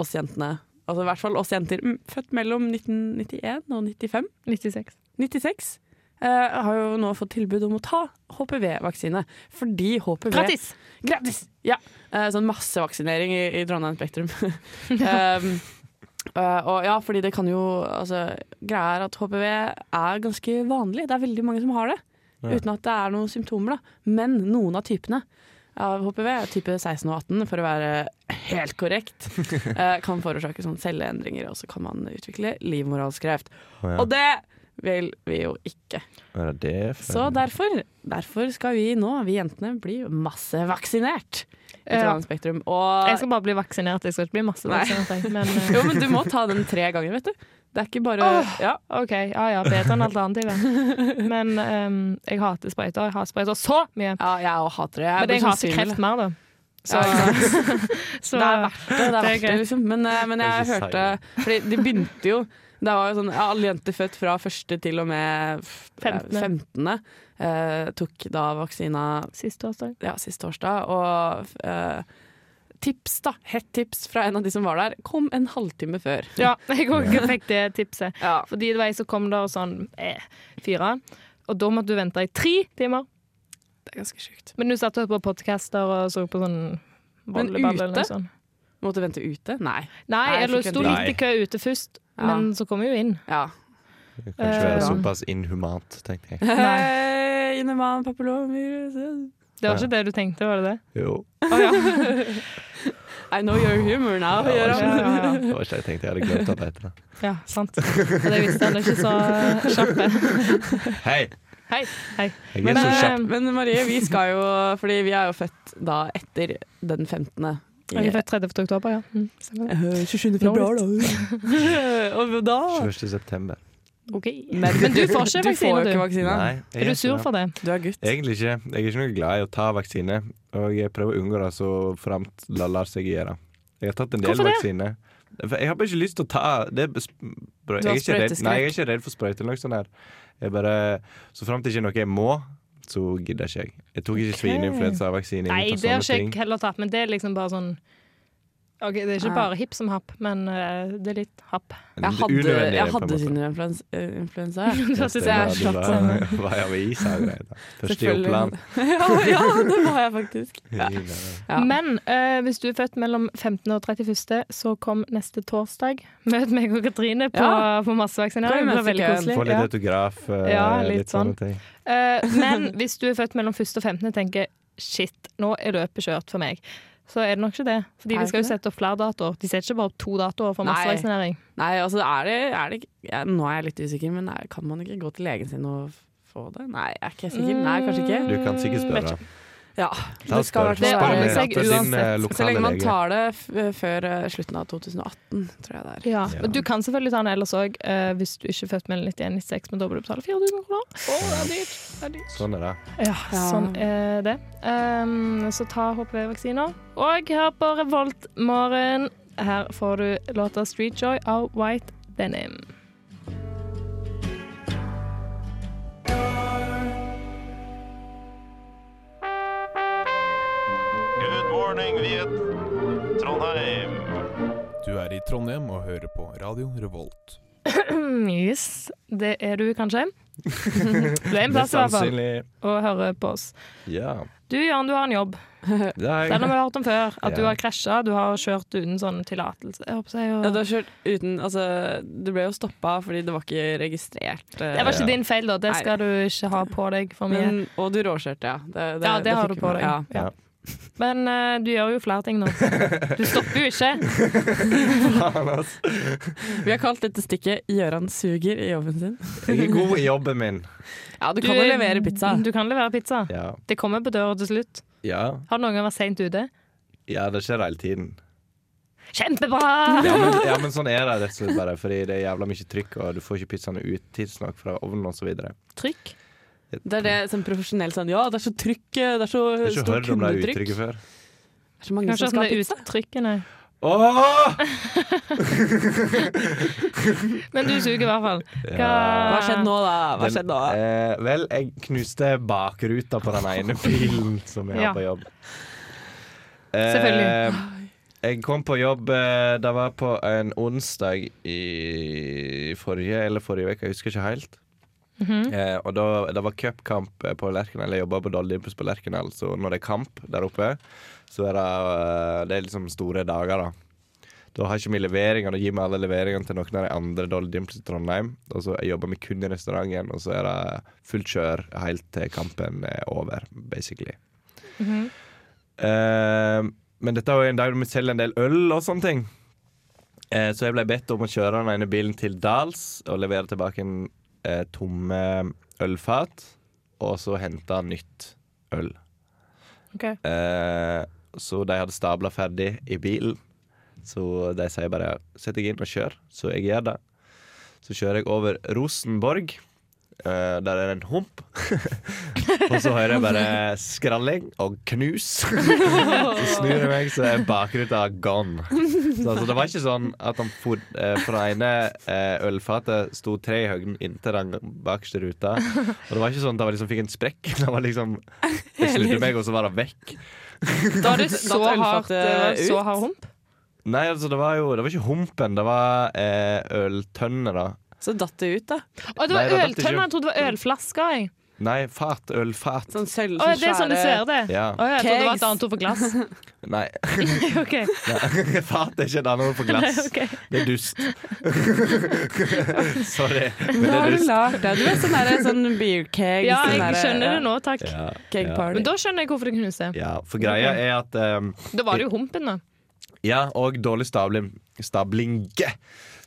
Speaker 6: oss jentene altså i hvert fall oss jenter, mm, født mellom 1991 og 95,
Speaker 2: 96.
Speaker 6: 96, eh, har jo nå fått tilbud om å ta HPV-vaksine. Fordi HPV
Speaker 2: Gratis!
Speaker 6: Gratis! Ja. Eh, sånn massevaksinering i, i Trondheim Spektrum. um, eh, og ja, fordi det kan jo altså, Greia er at HPV er ganske vanlig. Det er veldig mange som har det. Uten at det er noen symptomer, da. Men noen av typene av HPV, type 16 og 18 for å være helt korrekt, eh, kan forårsake sånne celleendringer, og så kan man utvikle livmorhalskreft.
Speaker 5: ja.
Speaker 6: Og det vil vi jo ikke.
Speaker 5: Er det det for-
Speaker 6: Så derfor, derfor skal vi nå, vi jentene, bli massevaksinert. I
Speaker 2: Ja.
Speaker 6: Trondheim Spektrum. Og
Speaker 2: Eh, Jeg skal bare bli vaksinert. Jeg skal ikke bli masse
Speaker 6: Nei.
Speaker 2: vaksinert. jeg. Men eh,
Speaker 6: Jo, men du må ta den tre ganger, vet du. Det er ikke bare ja.
Speaker 2: OK, ja ja, bedre enn alternativet. Men ehm, jeg hater sprøyter. Jeg hater sprøyter så mye.
Speaker 6: ja, jeg òg hater det. Jeg
Speaker 2: Men
Speaker 6: blir
Speaker 2: jeg
Speaker 6: sånn
Speaker 2: hater
Speaker 6: svimmel.
Speaker 2: kreft mer, da. Så,
Speaker 6: Ja, ja.
Speaker 2: så eh,
Speaker 6: det er verdt det. det, er
Speaker 2: Det er
Speaker 6: verdt det
Speaker 2: greit.
Speaker 6: liksom. men, eh, men jeg
Speaker 5: Kanskje
Speaker 6: hørte Fordi de begynte jo Det var jo sånn ja, Alle jenter født fra første til og med f-
Speaker 2: Femtende.
Speaker 6: 15. eh, tok da vaksina
Speaker 2: siste årsdag.
Speaker 6: ja, sist torsdag, og eh, tips, da. Hett tips fra en av de som var der. Kom en halvtime før.
Speaker 2: Ja, jeg også fikk det tipset.
Speaker 6: Ja.
Speaker 2: Fordi det var jeg som kom der sånn eh, fire, og da måtte du vente i tre timer.
Speaker 6: Det er ganske sjukt.
Speaker 2: Men du satt og hørte på podcaster og så på sånn
Speaker 6: Men
Speaker 2: volleyball
Speaker 6: ute?
Speaker 2: eller noe sånt.
Speaker 6: Måtte vente ute? Nei.
Speaker 2: Nei,
Speaker 6: Nei,
Speaker 2: eller
Speaker 6: fikk
Speaker 2: sto
Speaker 6: en-
Speaker 2: litt i kø ute først,
Speaker 6: Ja.
Speaker 2: men så kom jeg jo inn.
Speaker 6: Ja.
Speaker 5: Det kan ikke være
Speaker 2: Eh,
Speaker 5: såpass inhumant, tenkte jeg.
Speaker 6: Hei, Eh, inhuman papillomvirus.
Speaker 2: Det var ikke det du tenkte, var det det?
Speaker 5: Jo,
Speaker 2: Å, ja.
Speaker 6: I know your humor now,
Speaker 2: Ja,
Speaker 6: Gøran.
Speaker 2: ja, ja.
Speaker 5: det var ikke det jeg tenkte. Jeg hadde glemt at det heter det.
Speaker 2: ja, sant. Og det visste han ikke så eh, kjappe.
Speaker 5: Hei!
Speaker 2: Hei, hei.
Speaker 5: Jeg
Speaker 6: Men,
Speaker 5: er så
Speaker 6: eh,
Speaker 5: kjapp.
Speaker 6: men Marie, vi skal jo Fordi vi er jo født da etter den 15. i-
Speaker 2: Jeg er født 30. oktober, ja. Mm, stemmer det.
Speaker 6: Eh, 27. februar, da. Og da
Speaker 5: 21. september.
Speaker 2: Ok.
Speaker 6: Men,
Speaker 2: Men du får ikke
Speaker 6: du
Speaker 2: vaksine,
Speaker 6: får jo
Speaker 2: du.
Speaker 6: ikke vaksine.
Speaker 5: Nei, Eh, jeg
Speaker 2: Er
Speaker 5: ikke
Speaker 2: du sur
Speaker 5: det.
Speaker 2: for det?
Speaker 6: Du er gutt.
Speaker 5: Egentlig ikke. Jeg er ikke noe glad i å ta vaksine, og jeg prøver å unngå det så framt det lar seg gjøre. Jeg har tatt en del
Speaker 2: Hvorfor det?
Speaker 5: vaksiner. For Jeg har bare ikke lyst til å ta det er bes- bra.
Speaker 6: Du har
Speaker 5: jeg er ikke redd,
Speaker 6: sprøyteskrekk.
Speaker 5: Nei, jeg er ikke redd for sprøyter eller noe sånt. her. Jeg bare, så framt det ikke er noe jeg må, så gidder ikke jeg. Jeg tok ikke
Speaker 2: Ok.
Speaker 5: svineinfluensavaksine.
Speaker 2: Nei,
Speaker 5: jeg
Speaker 2: det
Speaker 5: tar
Speaker 2: har ikke
Speaker 5: sånne
Speaker 2: jeg
Speaker 5: ting.
Speaker 2: heller tatt, men det er liksom bare sånn Ok, Det er ikke
Speaker 6: Ja.
Speaker 2: bare hipp som happ, men eh, det er litt happ.
Speaker 5: Det er
Speaker 6: Jeg hadde,
Speaker 5: unødvendig,
Speaker 6: jeg
Speaker 5: på en
Speaker 6: hadde
Speaker 5: måte.
Speaker 6: sin influensa.
Speaker 2: Da synes jeg
Speaker 5: Det var-
Speaker 2: slapp.
Speaker 5: det var- var jeg ved is her, greit. Første
Speaker 6: Selvfølgelig.
Speaker 5: jobbland.
Speaker 6: ja, ja, det var jeg faktisk. Ja. Ja.
Speaker 2: Men eh, hvis du er født mellom 15. og 31., så kom neste torsdag. Møt meg og Katrine på,
Speaker 6: Ja.
Speaker 2: på massevaksinering.
Speaker 6: Kom i
Speaker 2: Det blir veldig
Speaker 6: massekøen.
Speaker 2: koselig.
Speaker 5: Få litt
Speaker 2: Ja.
Speaker 5: autograf. eh,
Speaker 2: Ja, litt sånn.
Speaker 5: sånne ting.
Speaker 2: Eh, men hvis du er født mellom 1. og 15. og tenker shit, nå er løpet kjørt for meg, så er det nok ikke det. Fordi
Speaker 6: Er
Speaker 2: de
Speaker 6: det
Speaker 2: skal jo
Speaker 6: ikke det?
Speaker 2: sette opp flere datoer. De setter ikke bare opp to datoer for
Speaker 6: Nei.
Speaker 2: massevaksinering.
Speaker 6: Nei, altså er det, er det ikke- ja, Nå er jeg litt usikker, men er, kan man ikke gå til legen sin og f- få det? Nei, jeg er ikke sikker. Nei, kanskje ikke.
Speaker 5: Du kan sikkert
Speaker 2: Mm, vet
Speaker 5: spørre.
Speaker 6: Ja,
Speaker 5: Ta
Speaker 6: det skal i
Speaker 5: spør-
Speaker 6: hvert
Speaker 2: spør
Speaker 6: fall være
Speaker 2: med seg
Speaker 5: din, eh,
Speaker 2: uansett.
Speaker 5: lokale
Speaker 6: Så lenge man
Speaker 5: lege.
Speaker 6: tar det f før eh, slutten av 2018, tror jeg det er.
Speaker 2: Ja.
Speaker 5: Ja.
Speaker 2: Men du kan selvfølgelig ta den ellers òg, hvis du ikke er født mellom 91 og 96, men da må du betale 4000 kroner.
Speaker 5: Sånn er det.
Speaker 2: Ja,
Speaker 6: Ja.
Speaker 2: sånn er det. Ehm, så ta HPV-vaksiner. Og her på Revolt morgen, her får du låta 'Street Joy' av White Denim.
Speaker 10: Good morning, Viet. Trondheim.
Speaker 4: Du er i Trondheim og hører på Radio Revolt.
Speaker 2: Yes, det er du kanskje. Det er en plass i hvert fall
Speaker 5: Sannsynlig.
Speaker 2: å høre på oss.
Speaker 5: Ja.
Speaker 2: Du Jørn, du har en jobb.
Speaker 5: Det har
Speaker 2: Den har vi hørt om før. At du
Speaker 5: Ja.
Speaker 2: har krasja, du har kjørt uten sånn tillatelse. Jeg håper jeg
Speaker 6: Ja, du
Speaker 2: jo-
Speaker 6: har kjørt uten Altså, du ble jo stoppa fordi det var ikke registrert. eh,
Speaker 2: Det var ikke din feil, da. Det skal du ikke ha på deg for mye.
Speaker 6: men, og du råkjørte, ja. Det, det,
Speaker 2: Ja, det har du
Speaker 6: fikk vi
Speaker 2: på
Speaker 6: med.
Speaker 2: deg.
Speaker 6: Ja.
Speaker 2: Ja. Men eh, du gjør jo flere ting nå. Du stopper jo ikke.
Speaker 6: Vi har kalt dette stikket 'Gøran suger' i jobben sin.
Speaker 5: Jeg er god i jobben min.
Speaker 6: Ja, du kan jo levere pizza.
Speaker 2: Du kan levere pizza.
Speaker 5: Ja.
Speaker 2: Det kommer på døra til slutt.
Speaker 5: Ja.
Speaker 2: Har du noen gang vært seint ute?
Speaker 5: ja, det skjer hele tiden.
Speaker 2: Kjempebra!
Speaker 5: Ja men, ja, men sånn er det rett og slett bare, fordi det er jævla mye trykk, og du får ikke pizzaene ut tidsnok fra ovnen osv. Det
Speaker 2: Trykk.
Speaker 6: Det er det sånn profesjonell sånn Ja, det er så trykk, eh, det er så
Speaker 5: er ikke
Speaker 6: stort
Speaker 5: hørt om det
Speaker 6: kundetrykk.
Speaker 5: uttrykket før.
Speaker 6: Det er så mange
Speaker 2: Kanskje
Speaker 6: som
Speaker 2: sånn
Speaker 6: skal ha
Speaker 2: det
Speaker 6: pizza.
Speaker 2: uttrykkene.
Speaker 5: Åh!
Speaker 2: Men du suger i hvert fall. Hva,
Speaker 6: Hva har skjedd nå, da? Hva har skjedd nå?
Speaker 5: Den, eh, vel, jeg knuste bakruta på den ene bilen som jeg
Speaker 2: Ja.
Speaker 5: har på jobb.
Speaker 2: Selvfølgelig.
Speaker 5: Eh, Jeg kom på jobb eh, Det var på en onsdag i forrige eller forrige uke, jeg husker ikke helt. eh, og da, Det var cupkamp eh, på Lerkendal. Jeg jobba på Dolly Impus på Lerkendal, så når det er kamp der oppe, så er det, eh, det er liksom store dager, da. Da har ikke vi leveringer. Da gir vi alle leveringene til noen av de andre Dolly Dimples i Trondheim. Og så jeg jobber vi kun i restauranten, og så er det fullt kjør helt til kampen er over, basically. Eh, men dette er jo en dag vi selger en del øl og sånne ting. Eh, så jeg ble bedt om å kjøre den ene bilen til Dals og levere tilbake en eh, tomme ølfat. Og så hente nytt øl.
Speaker 2: Ok.
Speaker 5: Eh, så de hadde stabla ferdig i bilen. Så de sier bare sett deg inn og kjør. Så jeg gjør det. Så kjører jeg over Rosenborg. Eh, der er det en hump. og så hører jeg bare skralling og knus. så eh, snur jeg meg, så er bakruta gone. Så altså, det var ikke sånn at han for, eh, fra det ene eh, ølfatet sto tre i høyden inntil den bakerste ruta. Og det var ikke sånn at han liksom fikk en sprekk. Det var liksom Jeg snudde meg, og så var det vekk.
Speaker 2: Da er det så
Speaker 6: Datt
Speaker 2: hardt
Speaker 6: ølfatet
Speaker 2: det var så
Speaker 6: ut.
Speaker 2: hard hump.
Speaker 5: Nei, altså, det var jo Det var ikke humpen, det var eh, øltønner, da.
Speaker 6: Så datt det ut, da.
Speaker 2: Å, det var
Speaker 5: Nei, da datt det ikke
Speaker 2: øltønner.
Speaker 5: opp.
Speaker 2: Jeg trodde det var ølflasker. jeg.
Speaker 5: Nei, fat. Ølfat.
Speaker 6: Sånn sølv,
Speaker 2: Å, det er sånn du ser det?
Speaker 5: Ja.
Speaker 2: Å, jeg trodde det var
Speaker 6: Kegs.
Speaker 2: et annet ord for glass.
Speaker 5: Nei,
Speaker 2: Ok,
Speaker 5: fat er ikke et annet ord for glass.
Speaker 2: ok.
Speaker 5: Det er dust. Sorry, men
Speaker 6: Nå
Speaker 5: det
Speaker 6: har
Speaker 5: er
Speaker 6: du
Speaker 5: dust.
Speaker 6: lært det. Du er sånn derre sånn beer keg.
Speaker 2: Ja,
Speaker 6: sånn eh,
Speaker 2: jeg
Speaker 6: derre-
Speaker 2: skjønner det nå, takk.
Speaker 5: Ja,
Speaker 6: Keg
Speaker 5: ja.
Speaker 6: party.
Speaker 2: Men da skjønner jeg hvorfor det knuste.
Speaker 5: Ja, for greia er at um,
Speaker 2: Da var det jo humpen, da.
Speaker 5: Ja, og dårlig stabling. Stablinge.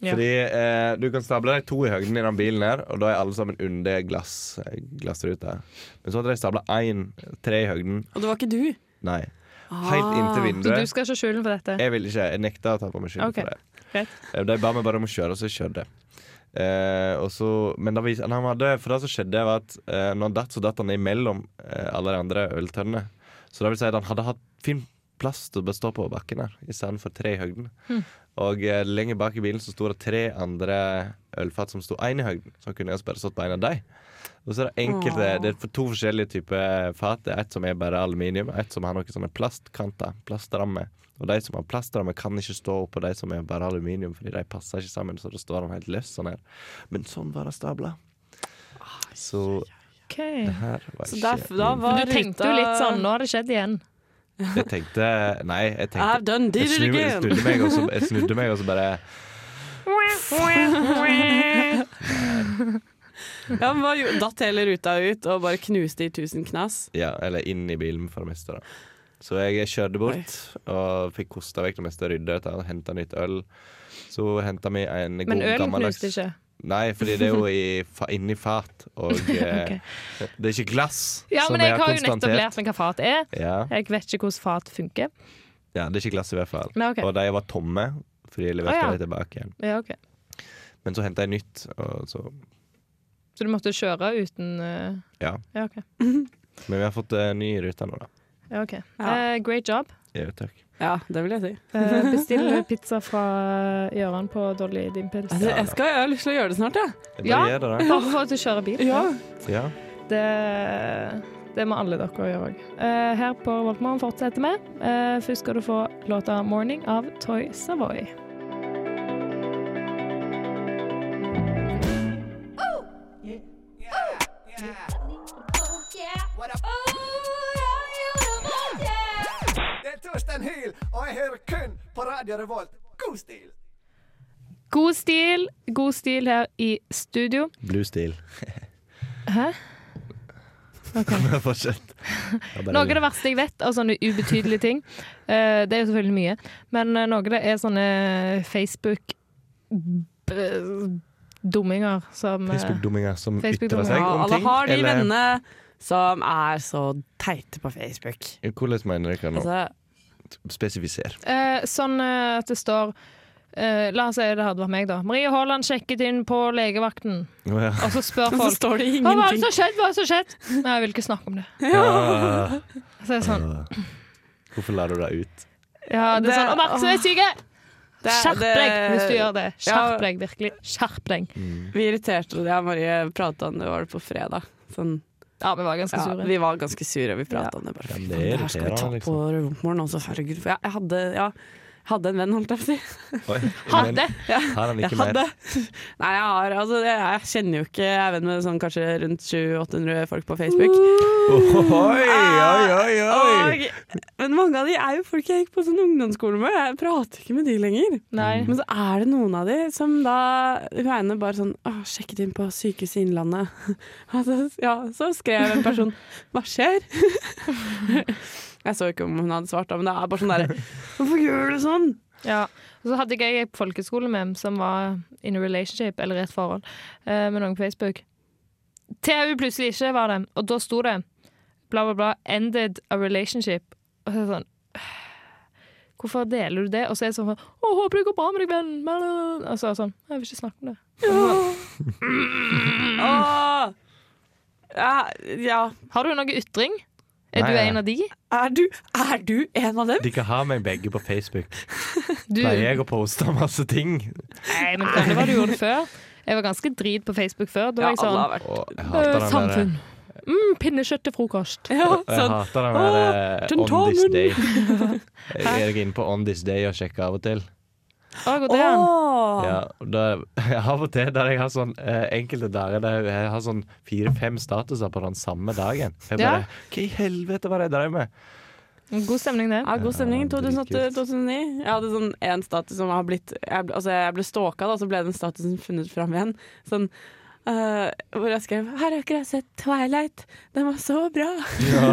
Speaker 2: Ja.
Speaker 5: Fordi eh, du kan stable deg to i høyden i den bilen her, og da er alle sammen under glass, eh, glassruta. Men så hadde de stabla én, tre i høyden.
Speaker 6: Og det var ikke du.
Speaker 5: Nei. Helt inntil
Speaker 2: Ah, Så du
Speaker 5: vinduet.
Speaker 2: skal ikke ha skylden for dette.
Speaker 5: Jeg vil ikke, jeg nekta å ta på meg skylden
Speaker 2: Ok,
Speaker 5: for det.
Speaker 2: greit.
Speaker 5: Eh, De ba meg bare om å kjøre, og så kjørte jeg. Eh, og så, men da vi, han hadde, for det som skjedde, var at eh, når han datt, så datt han imellom eh, alle de andre øltønnene. Så det vil si at han hadde hatt fin plass til å bestå på bakken her, i stedet for tre i høyden.
Speaker 2: Hmm.
Speaker 5: Og eh, lenger bak i bilen så sto det tre andre ølfat som sto én i høyden, så han kunne jeg bare stått på en av dem. Og så er det enkelte Det er for to forskjellige typer fat. Det er Et som er bare aluminium, og et som har noen sånne plastkanter. Plastramme. Og de som har plastramme, kan ikke stå oppå de som er bare aluminium, fordi de passer ikke sammen. Så da står han helt løs sånn her. Men sånn var det stabla. Så
Speaker 2: Ok.
Speaker 5: her var
Speaker 6: Så
Speaker 5: ikke
Speaker 6: der, da
Speaker 5: min-
Speaker 6: var
Speaker 2: Du tenkte jo litt sånn Nå har det skjedd igjen.
Speaker 5: Jeg tenkte Nei, jeg
Speaker 6: I've
Speaker 5: tenkte
Speaker 6: done
Speaker 5: jeg
Speaker 6: did it
Speaker 5: snu- jeg
Speaker 6: again.
Speaker 5: snudde meg, og så, jeg snudde meg, og så bare
Speaker 6: Ja, men hva gjorde- Datt hele ruta ut og bare knuste i tusen knas.
Speaker 5: Ja, eller inn i bilen for det meste, da. Så jeg kjørte bort og fikk kosta vekk det meste, rydda etter, henta nytt øl. Så henta vi en god
Speaker 2: Men ølen
Speaker 5: gammeldags
Speaker 2: knuste ikke.
Speaker 5: Nei, fordi det er jo i, fa- inni fat, og eh, det er ikke glass.
Speaker 2: Ja,
Speaker 5: som
Speaker 2: men
Speaker 5: vi
Speaker 2: jeg har jo nettopp
Speaker 5: konstatert.
Speaker 2: lært meg hva fat er.
Speaker 5: ja,
Speaker 2: Jeg vet ikke hvordan fat funker.
Speaker 5: ja, det er ikke glass i hvert fall.
Speaker 2: Men ok.
Speaker 5: Og de var tomme, fordi jeg leverte
Speaker 2: Å, ja.
Speaker 5: dem tilbake igjen.
Speaker 2: Ja, ok.
Speaker 5: Men så henta jeg nytt, og så
Speaker 2: Så du måtte kjøre uten eh,
Speaker 5: Ja.
Speaker 2: Ja, OK.
Speaker 5: Men vi har fått eh, ny rute nå, da.
Speaker 2: Ja, ok.
Speaker 6: Ja.
Speaker 2: Eh, great job.
Speaker 5: Jo, takk.
Speaker 6: Ja, det vil jeg si.
Speaker 2: Eh, bestill pizza fra Gjøran på Dolly din pils.
Speaker 6: Altså, jeg, skal, jeg har lyst til å gjøre det snart, jeg.
Speaker 5: Jeg
Speaker 2: Ja.
Speaker 5: bare gjør det, da.
Speaker 2: Bare for at du kjører bil.
Speaker 5: Ja.
Speaker 2: Det, det må alle dere gjøre òg. her på Voltmann fortsetter vi. Eh, først skal du få låta 'Morning' av Toy Savoy.
Speaker 3: Oh,
Speaker 7: Det er Torstein Hyl, og jeg hører kun på Radio Revolt. God stil!
Speaker 2: God stil, god stil her i studio.
Speaker 5: Blue steel.
Speaker 2: Hæ?
Speaker 5: Fortsett. Jeg bare
Speaker 2: Noe av
Speaker 5: ler.
Speaker 2: det verste jeg vet av sånne ubetydelige ting, eh, det er jo selvfølgelig mye, men eh, noe av det er sånne Facebook-dumminger som eh,
Speaker 5: Facebook-dumminger som ytrer
Speaker 2: Facebook-dumminger.
Speaker 5: seg
Speaker 6: Ja,
Speaker 5: om
Speaker 6: alle
Speaker 5: ting.
Speaker 6: har de
Speaker 5: eller-
Speaker 6: vennene som er så teite på Facebook.
Speaker 5: Hvordan mener dere nå?
Speaker 6: Altså,
Speaker 5: Spesifiser.
Speaker 2: Eh, sånn eh, at det står eh, La oss si det hadde vært meg, da. Marie Haaland sjekket inn på legevakten.
Speaker 5: Å, ja.
Speaker 2: Og så spør
Speaker 6: så
Speaker 2: folk
Speaker 6: står det
Speaker 2: Hva var det
Speaker 6: ingenting.
Speaker 2: som skjedde? Hva er det som skjedde? Nei, jeg vil ikke snakke om det.
Speaker 5: Ja.
Speaker 2: Så er det sånn,
Speaker 5: Hvorfor lar du deg ut?
Speaker 2: ja, det er sånn Oppmerksomhet syke!
Speaker 6: Det-
Speaker 2: Skjerp
Speaker 6: det-
Speaker 2: deg hvis du gjør det.
Speaker 6: Ja.
Speaker 2: Skjerp deg, virkelig. Skjerp deg.
Speaker 6: Vi irriterte oss. Jeg og Marie prata om det var det på fredag. Sånn,
Speaker 2: Ja, vi var ganske
Speaker 6: ja,
Speaker 2: sure.
Speaker 6: vi var ganske sure. Vi prata om det. Bare,
Speaker 5: Ja,
Speaker 6: fy
Speaker 5: det
Speaker 6: faen, det her skal vi
Speaker 5: irriterer
Speaker 6: ta
Speaker 5: han,
Speaker 6: på
Speaker 5: liksom.
Speaker 6: rommet nå, så herregud. For jeg, jeg hadde ja, Hadde en venn, holdt jeg på å si.
Speaker 5: Oi,
Speaker 6: Hadde!
Speaker 5: men-
Speaker 6: Ja.
Speaker 5: Har han
Speaker 6: Jeg
Speaker 5: ikke
Speaker 6: hadde.
Speaker 5: mer?
Speaker 6: Nei, jeg har altså, jeg, jeg kjenner jo ikke Jeg er venn med sånn kanskje rundt 700-800 folk på Facebook.
Speaker 5: Oi, oi, oi, oi!
Speaker 6: Og, men mange av de er jo folk jeg gikk på sånn ungdomsskole med. Jeg prater ikke med de lenger.
Speaker 2: Nei.
Speaker 6: Men så er det noen av de som da Hun ene bare sånn Å, sjekket inn på Sykehuset Innlandet. Altså, ja, så skrev en person Hva skjer? Jeg så ikke om hun hadde svart, da, men det er bare sånn derre Hvorfor gjør du sånn?
Speaker 2: Ja. Og så hadde jeg ei folkeskole med dem som var in a relationship, eller i et forhold, eh, med noen på Facebook. Til hun plutselig ikke var det, og da sto det bla, bla, bla, ended a relationship. Og så er det sånn Hvorfor deler du det? Og så er det sånn Å, håper det går bra med deg, venn. Bla, bla, bla. Og så er det sånn Jeg vil ikke snakke om det.
Speaker 6: Åh! Ja, ja.
Speaker 2: Har du noen ytring? Er
Speaker 5: Nei,
Speaker 2: du
Speaker 5: nei.
Speaker 2: en av de?
Speaker 6: Er, du, er du en av dem?
Speaker 5: De kan ha meg begge på Facebook.
Speaker 2: Du,
Speaker 5: Pleier
Speaker 2: nei,
Speaker 5: jeg å poste masse ting?
Speaker 2: men det var det du gjorde før. Jeg var ganske drit på Facebook før. Da var jeg
Speaker 6: Ja, alle
Speaker 2: sånn
Speaker 6: har vært
Speaker 5: Og jeg
Speaker 2: «Øh,
Speaker 5: hater den
Speaker 2: Samfunn.
Speaker 5: der,
Speaker 2: Mm, pinnekjøtt til frokost.
Speaker 6: ja,
Speaker 5: og jeg
Speaker 6: sånn.
Speaker 5: hater den
Speaker 6: «Åh,
Speaker 5: der eh, On
Speaker 6: tentamen!»
Speaker 5: This Day. Jeg er inne på On This Day og sjekker av og til.
Speaker 2: Å, god dag.
Speaker 6: Åh.
Speaker 5: Ja, og da, av og til der jeg har sånn eh, enkelte dager der jeg har sånn fire-fem statuser på den samme dagen. Jeg
Speaker 2: Ja.
Speaker 5: bare Hva i helvete var det jeg drev med?
Speaker 2: God stemning, det.
Speaker 6: Ja, god stemning.
Speaker 5: Ja, dritkult.
Speaker 6: 2008-2009. Jeg hadde sånn en status som har blitt Jeg, ble- altså jeg ble stalka, da, så ble den statusen funnet fram igjen. Sånn eh, hvor jeg skrev 'Her har ikke jeg sett Twilight. Den var så bra'.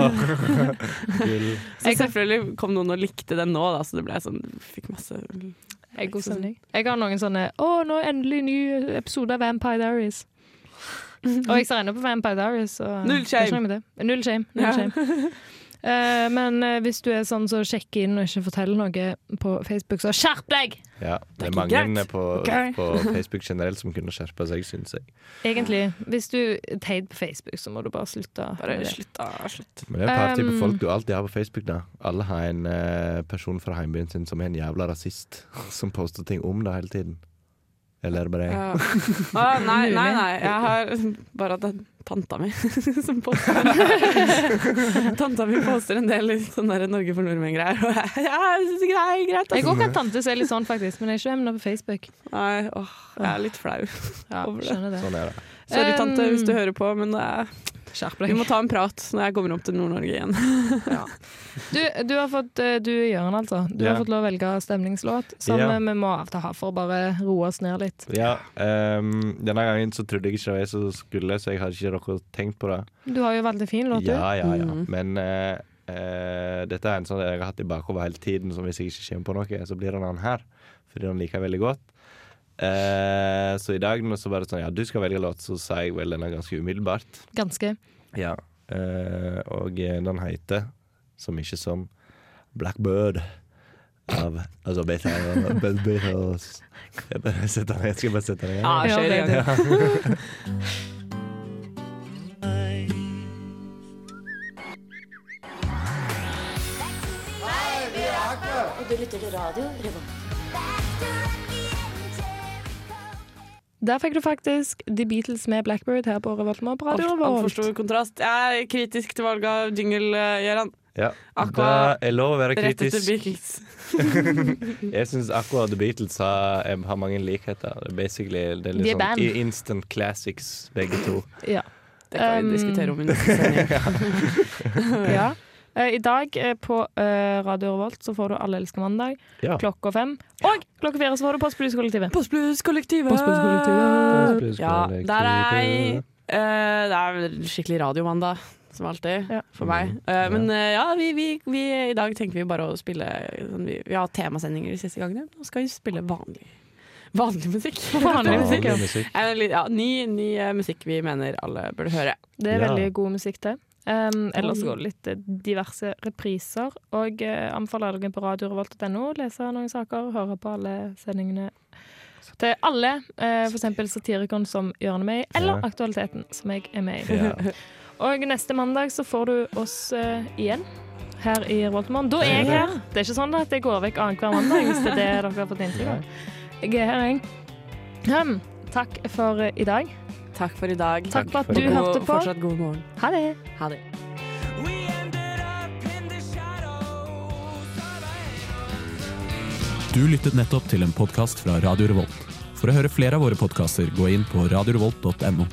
Speaker 5: Gull.
Speaker 6: Så selvfølgelig kom noen og likte den nå, da, så det ble sånn Fikk masse
Speaker 2: Jeg, god stemning. jeg har noen sånne Å, nå er endelig ny episode av Vampire Diaries. Og jeg ser ennå på Vampire Diaries. Så
Speaker 6: Null
Speaker 2: det er ikke
Speaker 6: shame.
Speaker 2: noe med det. Null shame. Null
Speaker 6: Ja.
Speaker 2: shame. Eh, men eh, hvis du er sånn som så sjekker inn og ikke forteller noe på Facebook, så skjerp deg!
Speaker 5: Ja, det
Speaker 6: Det er
Speaker 5: er
Speaker 6: ikke
Speaker 5: mange
Speaker 6: greit.
Speaker 5: på,
Speaker 6: Ok.
Speaker 5: på Facebook generelt som kunne skjerpa seg, syns jeg.
Speaker 2: Egentlig. Hvis du er teit på Facebook, så må du bare slutte.
Speaker 6: Bare
Speaker 2: med det.
Speaker 6: slutt, da. Slutt.
Speaker 5: Men det er et par typer
Speaker 2: Um,
Speaker 5: folk du alltid har på Facebook. da Alle har en eh, person fra heimbyen sin som er en jævla rasist, som poster ting om det hele tiden. Eller er det bare jeg?
Speaker 6: Ja. Å, nei, nei, nei. Jeg har bare hatt en tanta mi som poster Tanta mi poster en del litt sånn der Norge for nordmenn-greier, og jeg, jeg syns ikke det er greit. altså.
Speaker 2: Jeg går ikke at tante ser litt sånn, faktisk, men jeg er ikke henne på Facebook.
Speaker 6: Nei, åh, jeg er litt flau.
Speaker 2: Ja,
Speaker 6: Over det.
Speaker 2: skjønner det.
Speaker 5: Sånn er det.
Speaker 6: Sorry,
Speaker 2: Um,
Speaker 6: tante, hvis du hører på, men det er,
Speaker 2: Skjerp
Speaker 6: vi
Speaker 2: deg.
Speaker 6: må ta en prat når jeg kommer opp til Nord-Norge igjen.
Speaker 2: Du, du har fått, eh, du Jørgen altså, du
Speaker 5: Ja.
Speaker 2: har fått lov å velge stemningslåt som
Speaker 5: Ja.
Speaker 2: eh, vi må avta ha for å bare roe oss ned litt.
Speaker 5: Ja, ehm, denne gangen så trodde jeg ikke det var jeg som skulle, så jeg hadde ikke rukket å tenke på det.
Speaker 2: Du har jo veldig fin låt, du.
Speaker 5: Ja, ja, ja. Men eh, eh, dette er en sånn jeg har hatt i bakhodet hele tiden, som hvis jeg ikke kommer på noe, så blir det den her. Fordi den liker jeg veldig godt. Eh, så i dag nå så var det sånn Ja, du skal velge låt, så sa jeg vel denne ganske umiddelbart.
Speaker 2: Ganske.
Speaker 5: Ja. Eh, og eh, den heter, som ikke som, Blackbird. Av altså, Beta Beatles. Jeg bare setter den- jeg skal bare sette den igjen.
Speaker 2: Ja,
Speaker 6: kjør
Speaker 2: det-
Speaker 6: igjen.
Speaker 2: Der fikk du faktisk The Beatles med Blackbird her på Revoltmore på radio
Speaker 6: Alt- altfor
Speaker 2: Revolt.
Speaker 6: stor kontrast. Jeg er kritisk til valget av jingle, eh, Gøran.
Speaker 5: Ja. Da
Speaker 6: Aqua-
Speaker 5: er lov å være
Speaker 6: Rett etter
Speaker 5: kritisk.
Speaker 6: Beatles.
Speaker 5: Jeg syns akkurat The Beatles har, em, har mange likheter. Det er basically det er litt
Speaker 2: De er
Speaker 5: sånn
Speaker 2: band.
Speaker 5: i- instant classics, begge to.
Speaker 2: Ja.
Speaker 6: Det kan
Speaker 2: Um,
Speaker 6: vi diskutere om i neste sending.
Speaker 2: ja. Eh, I dag eh, på eh, Radio Revolt så får du Alle elsker mandag
Speaker 5: Ja.
Speaker 2: klokka fem. Og klokka fire så får du Postblueskollektivet.
Speaker 6: Postblues-kollektivet!
Speaker 5: Postblues-kollektivet.
Speaker 6: Ja, der er jeg. Eh, det er vel skikkelig radiomandag, som alltid,
Speaker 2: Ja.
Speaker 6: for meg. Eh, men eh, ja, vi, vi, vi, i dag tenker vi bare å spille sånn, vi, vi har temasendinger de siste gangene. Nå skal vi spille vanlig, vanlig musikk.
Speaker 2: Vanlig musikk, ja.
Speaker 5: Vanlig musikk.
Speaker 6: Eh, litt- Ja, ny ny eh, musikk vi mener alle burde høre.
Speaker 2: Det er
Speaker 5: Ja.
Speaker 2: veldig god musikk til. Um, ellers går det litt eh, diverse repriser. Og eh, anbefaler dere på radiorevolt.no å lese noen saker, høre på alle sendingene til alle. eh, for eksempel Satirikon, som Jørn er med i, eller
Speaker 5: Ja.
Speaker 2: Aktualiteten, som jeg er med i.
Speaker 5: Ja.
Speaker 2: Og neste mandag så får du oss eh, igjen. Her i Revoltmorgen. Da er jeg her. Det er ikke sånn at jeg går vekk annenhver mandag, hvis det er det dere har fått inntrykk av. Jeg er her, jeg. Hm, takk for eh, i dag.
Speaker 6: Takk for i dag.
Speaker 2: Takk for at
Speaker 5: for
Speaker 2: du
Speaker 5: i dag.
Speaker 2: hørte
Speaker 6: Og
Speaker 2: på.
Speaker 6: Fortsatt god morgen.
Speaker 2: Ha det.
Speaker 6: Ha det.
Speaker 7: We ended up in the shadows of
Speaker 11: Du lyttet nettopp til en podkast fra Radio Revolt. For å høre flere av våre podkaster, gå inn på radiorevolt.no.